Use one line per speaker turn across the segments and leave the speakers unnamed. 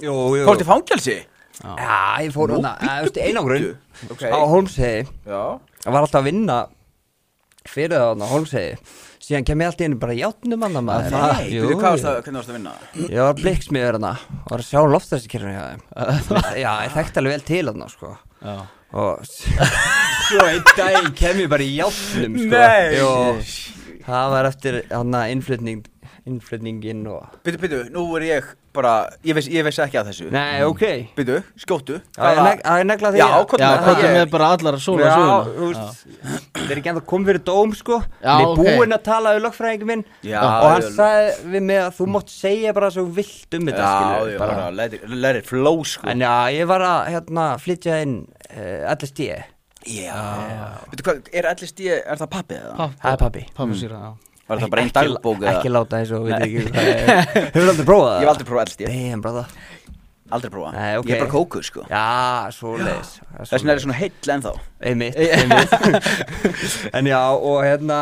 Jú, jú
Fórstu í fangelsi?
Já, ég fór
Nú,
hana,
bíddu,
eftir einangrun
Ok.
Á Holmshegi
Já
Ég var alltaf að vinna fyrir það hana, Holmshegi Síðan kem ég alltaf inn bara játnum hana maður
Nei,
Jú,
veitu hvað varstu
jú.
að- hvernig varstu að vinna?
Ég var blikksmiður hana og var að sjá loftræstikirinu hjá þeim Já, ég þekkti alveg vel til hana, sko Og svo einn dag kem ég bara í játnum, sko Jú, það var eftir hana innflutning, innflutningin og
Byttu, byttu, nú er ég bara Ég veist, ég veist ekki að þessu
Nei, ok
Byttu, skjóttu
Það er neg- það er negla því
Já, hvað-
Já,
Já,
hvað er
ég-
með bara allar að sóla
Já, þú
söguna?
veist, þeir eru ekki ennþá komið fyrir dóm sko
Já,
Ég er
ok.
búinn að tala við lögfræðingum minn
Já,
Og hann
jú.
sagði við mig að þú mátt segja bara svo vilt um þetta
Já,
skilur
ég
bara.
bara let it- Let it flow, sko
En já, ég var að hérna flytja inn uh, LSD
Já Veitu hvað, er allist ég, er það pappið eða?
Pappi-
Það er pabbi Mm.
Pappi síra, já
Var það bara einn
Ekki-
dagbók eða?
Ekki láta eins og við ekki hvað er. Hefur aldrei prófað það?
Ég hef aldrei prófað allist ég
Damn, bráða
Aldrei prófað
Nei, ok.
Ég er bara kókuð, sko
Já, svoleiðis
Þess vegna er ég svona heill ennþá
einmitt, einmitt. en já og hérna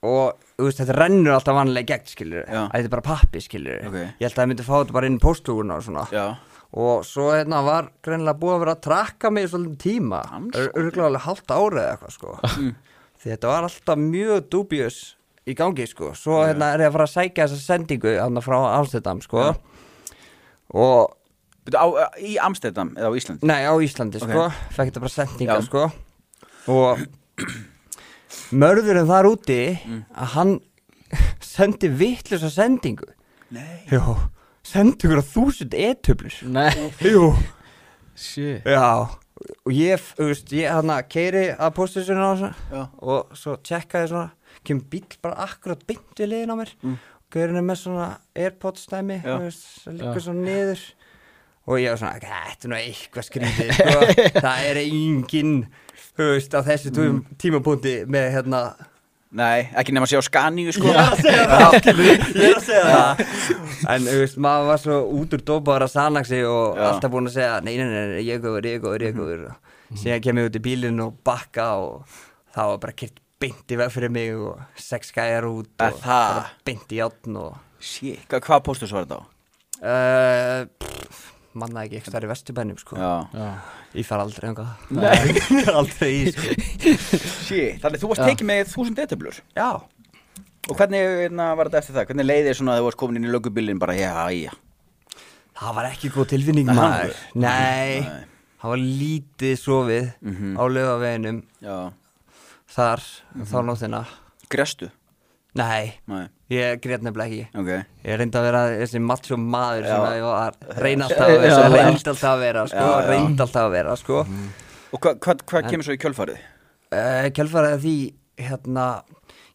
og þú veist, þetta rennur alltaf vanlega í gegn skilur
Já.
þetta er bara pappi skilur
Ok.
ég held að það myndi fá þetta bara inn í póstúguna og svona
Já
og svo hérna var greinlega búið að vera að trakka mig í svolítið tíma
Anskotinn.
örgulega alveg hálft árið eða eitthvað sko
Mm.
því þetta var alltaf mjög dubjus í gangi sko svo hérna er ég að fara að sækja þessa sendingu hann frá Amsterdam sko og
Byrju, á, í Amsterdam eða á Íslandi
Nei, á Íslandi,
Ok.
sko Fekk þetta bara sendinga,
Já.
sko Og Mörðurinn þar úti Að hann sendi vittlösa sendingu
Nei
Jó, sendi ykkur að þúsund e-töflur
Nei,
Jú,
shit
já Og ég, f- þú veist, ég hann að keiri að postisuna og svona
Já.
Og svo tjekkaði svona Kemur bíll bara akkurat beint við liðin á mér mm. Og gaurinn er með svona Airpods dæmi,
Já.
þú veist, það liggur svona niður og ég var svona, þetta er nú eitthvað skrítið sko. það er engin þú veist, á þessu mm. tímapunkti með hérna
Nei, ekki nema að sjá Skaníu sko
segja það, ég er að segja það en þú veist, maður var svo út úr dópaður að sanna sig og
Já.
alltaf búin að segja, nei, nei, nei, nei ég er góður, ég er góður, ég er góður
Mhm.
síðan kem ég út í bílinn og bakka og það var bara kert beint í veg fyrir mig og sex gæjar út
Er
og
það?
bara beint í játn og
Shit, hva, hvað póstus var þetta á?
uh, pff, manna ekki, ekki stærri vesturbænum sko
Já
Já,
Ég far aldrei ánga Nei, ég er aldrei í sko.
Shit, þannig þú varst
Já.
tekið með þúsund etöblur
Já
Og hvernig hérna, var þetta eftir það? Hvernig leiði þér svona að þú varst komin inn í lögubillin bara, já, já
Það var ekki góð tilfinning
Nei,
maður
hann-
Nei
Nei. Mhm.
Það var lítið sofið á lögaveginum
Já
þar
Mhm.
þá nóttina
Grestu?
Nei,
Nei,
ég grét nefnilega ekki
ok
Ég reyndi að vera þessi macho maður sem
Já.
að ég var reynd alltaf að vera
Já.
sem reynd alltaf að vera sko,
Já, Mhm. já.
reynd alltaf að vera sko.
Og hvað hva, hva kemur svo í kjölfarið?
uh, Kjálfaraði því hérna,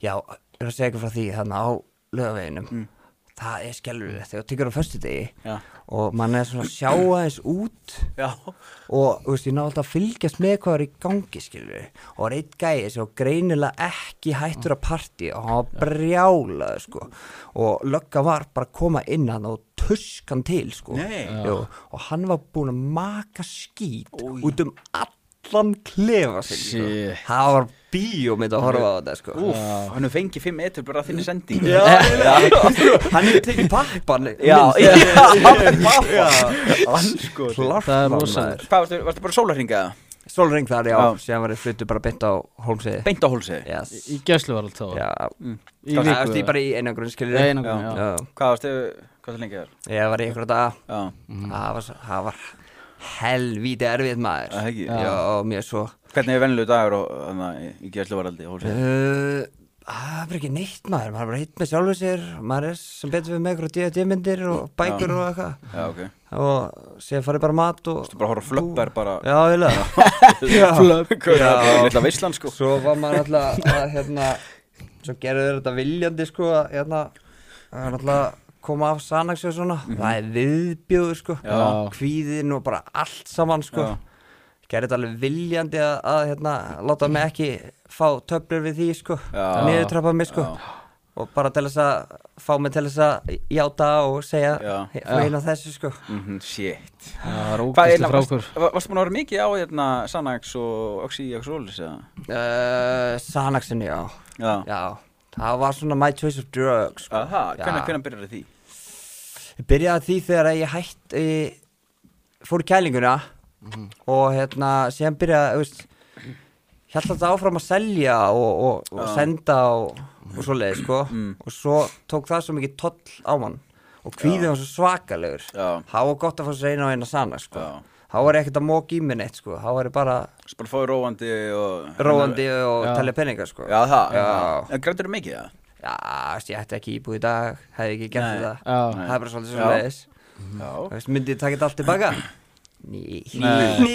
já, ég er að segja eitthvað frá því hérna á lögaveginum það er skelfulegt þegar þú tekur á föstudegi
Mhm. Já.
og mann er svona að sjá aðeins út
Já
og þú veist, ég náði alltaf að fylgjast með hvað er í gangi, skilur og var eitt gæi sem var greinilega ekki hættur að partí og hann var brjálaður, sko og lögga var bara að koma inn hann og tuskan til, sko
Nei.
Jú, og hann var búin að maka skít út um allan klefa sinn, sko
Shit.
það var bíómynd að horfa á þetta, sko
Úf, hann hefur fengið fimm etöblur að þinni sendingu
Já, hann er tekið pappan
Já,
minnst.
já,
já.
Anskotinn.
Klárt,
Það er
maður.
rosalegt.
Hvað varstu, varstu bara sólarringa eða?
Solring þar, já,
Já.
síðan var ég flyttu bara beint á Holmsiði
Beint á hólsið?
yes.
Í gæslu var alltaf
Já,
Mm. Í
það
viku
varst ég bara í einangrun, skilur
Nei, einangrun, já.
Hvað varstu, hvað það lengið þér?
Ég var í einhverja dag
Já,
Mhm.
Það var, svo- það var helvíti erfið maður
það ekki
Já, og mér svo
Hvernig er venlulegu dagur og, hana, í, í gæsluvaraldi hólsið?
Uh, Það er bara ekki neitt maður, maður er bara hitt með sjálfur sér Maður er sem betur við með einhverja díða díðmyndir og bækur og eitthvað
Já, ok
Og síðan farið bara mat og
Bara horfa á flöppar bara
Já, ég lega
Hvað er það?
Já.
Lilla veislan sko
Svo var maður alltaf að hérna Svo gerðu þeir þetta viljandi sko að hérna Það er alltaf að koma af sanags og svona
Mhm.
Það er viðbjóður sko
Já.
Kvíðin og bara allt saman sko
Já.
Gerðu þetta alveg viljandi að, að hérna Láta mig ekki fá töflur við því sko
Já.
Niðurtrappa mig sko Og bara til þess að fá mig til þess að játa og segja
Já.
Fá inn á þessu sko
Mhm, Shit
Það var
Hvað er
ógæslu
það?
frá okkur
Varstu búin að vera mikið á hérna Sanax og Oxy og Solis eða?
uh, Sanagsinu já
Já
Já, það var svona my choice of drugs sko.
Aha,
Já.
hvernig, hvernig byrjar því?
Ég byrjaði á því þegar að ég hætt e, fór í kælinguna
Mhm.
og hérna síðan byrjaði þú veist, held þetta áfram að selja og, og, og senda og, og svo leið sko og svo tók það svo mikið toll á mann og kvíðið var svo svakalegur
Já.
það var gott að fá sér eina og eina sana sko
Já.
það var ekkert að mók í minn eitt sko það var ég bara
Svo bara fáið róandi og
róandi og
Já.
telja peninga sko
Já það
Já.
En grætur mikið það?
Já, þú veist, ég ætti ekki íbúið í dag, hefði ekki gert
Nei.
þetta
Já.
Það er bara svolítið
Já.
svo leiðis Þú
Já
veist, myndi ég taka þetta allt tilbaka? Ný
Nei.
Ný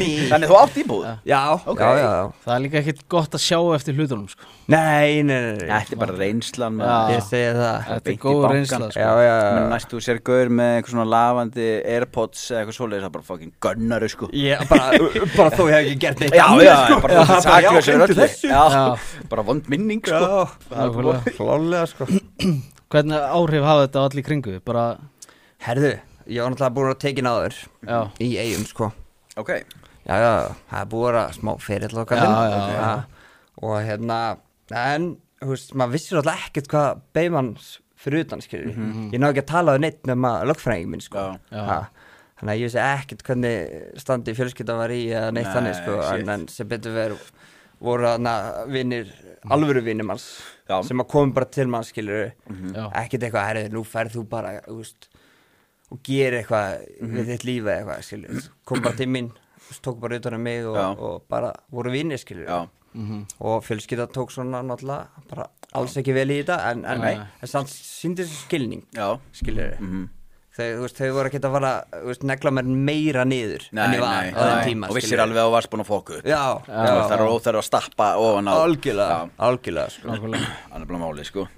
Ný
Þannig þú átt íbúð?
Já,
Ok.
já, já já.
Það er líka ekkit gott að sjá eftir hlutunum sko.
Nei, nei, nei, nei.
Þetta er bara reynslan
Já.
maður.
Ég segi það
Þetta er
beint í
góð
bankann.
reynsla sko.
Já, já,
Men
já
næst þú sér gaur með eitthvað svona lafandi Airpods eða eitthvað svoleiðis að bara fucking gunnaru sko
Ég bara, bara þó ég hef ekki gert neitt
Já,
annað,
já,
sko.
bara þú
já,
sakir þessu
gleymdu
öllu
þessu.
Já,
Já.
bara vond minning sko
Já,
Nákvæmlega.
klálega, sko
Hvernig áhrif hafa þetta á allir í kringu? þig? Bara,
Herðu, ég var náttúrulega búin að tekin áður
já,
Í eigum, sko
Ok,
Já, já, já, það er búið að vera smá ferill okkar
Já,
þinn.
já, já.
Og hérna, en, þú veist, maður vissir alltaf ekkert hvað beimanns fyrir utan, skilur Ég náðu ekki að tala um neitt nema lögfræðing minn, sko
Mhm. Já.
Já.
Ha, Þannig að ég vissi ekkert hvernig standi fjölskylda var í eða neitt
Nei,
þannig, sko
shit.
en, en sem betur verið voru þarna vinnir, alvöru vinnir manns
Já. Mhm.
Sem að komum bara til manns, skilur
já,
Ekkert eitthvað, herrið, nú ferð þú bara, þú veist og gera eitthvað
Mhm.
við þitt líf eða eitthvað skilur, kom bara til mín þú veist, tók bara utan um mig og,
Já.
og bara voru vinni skilur
já
og fjölskylda tók svona náttúrulega bara alls ekki vel í þetta en, en,
Nei.
en samt síndi þessu skilning
Já,
skilur
Mhm.
þau, þú veist, þau voru ekki að fara þú veist, negla mér meira niður en
nei,
ég var á
nei,
þeim
nei.
tíma
Og vissir
skilurðu.
alveg að þú varst búin að fóku upp
já,
Það
já,
er óþær að stappa ofan á
algjörlega
Já,
algjörlega sko.
nákvæmlega.
Það er bara máli sko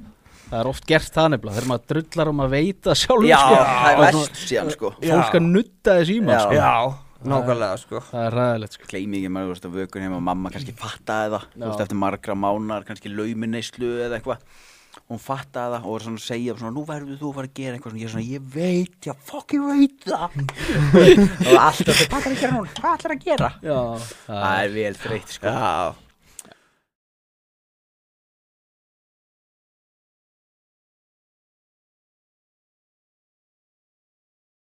Það er oft gert það nefnilega, þegar maður drullar og maður veit að sjálfur
Já,
sko.
það er
Og svona-
verst síðan sko
Fólk að nutta þessu í maður
Já.
sko.
já, nákvæmlega sko.
Það er ræðilegt sko.
Gleimi ekki maður, þú veist, að vökun heima og mamma kannski fattaði það Þú
Já.
veist, eftir margra mánar, kannski laumineyslu eða eitthvað Hún fattaði það og var svona að segja svona, nú verður þú að fara að gera eitthvað svona, ég er svona, ég veit, ég fucking veit það og alltaf, þau pakkar að gera núna, hvað ætlar að gera?
Já, það
Það er vel þreytt, sko
já,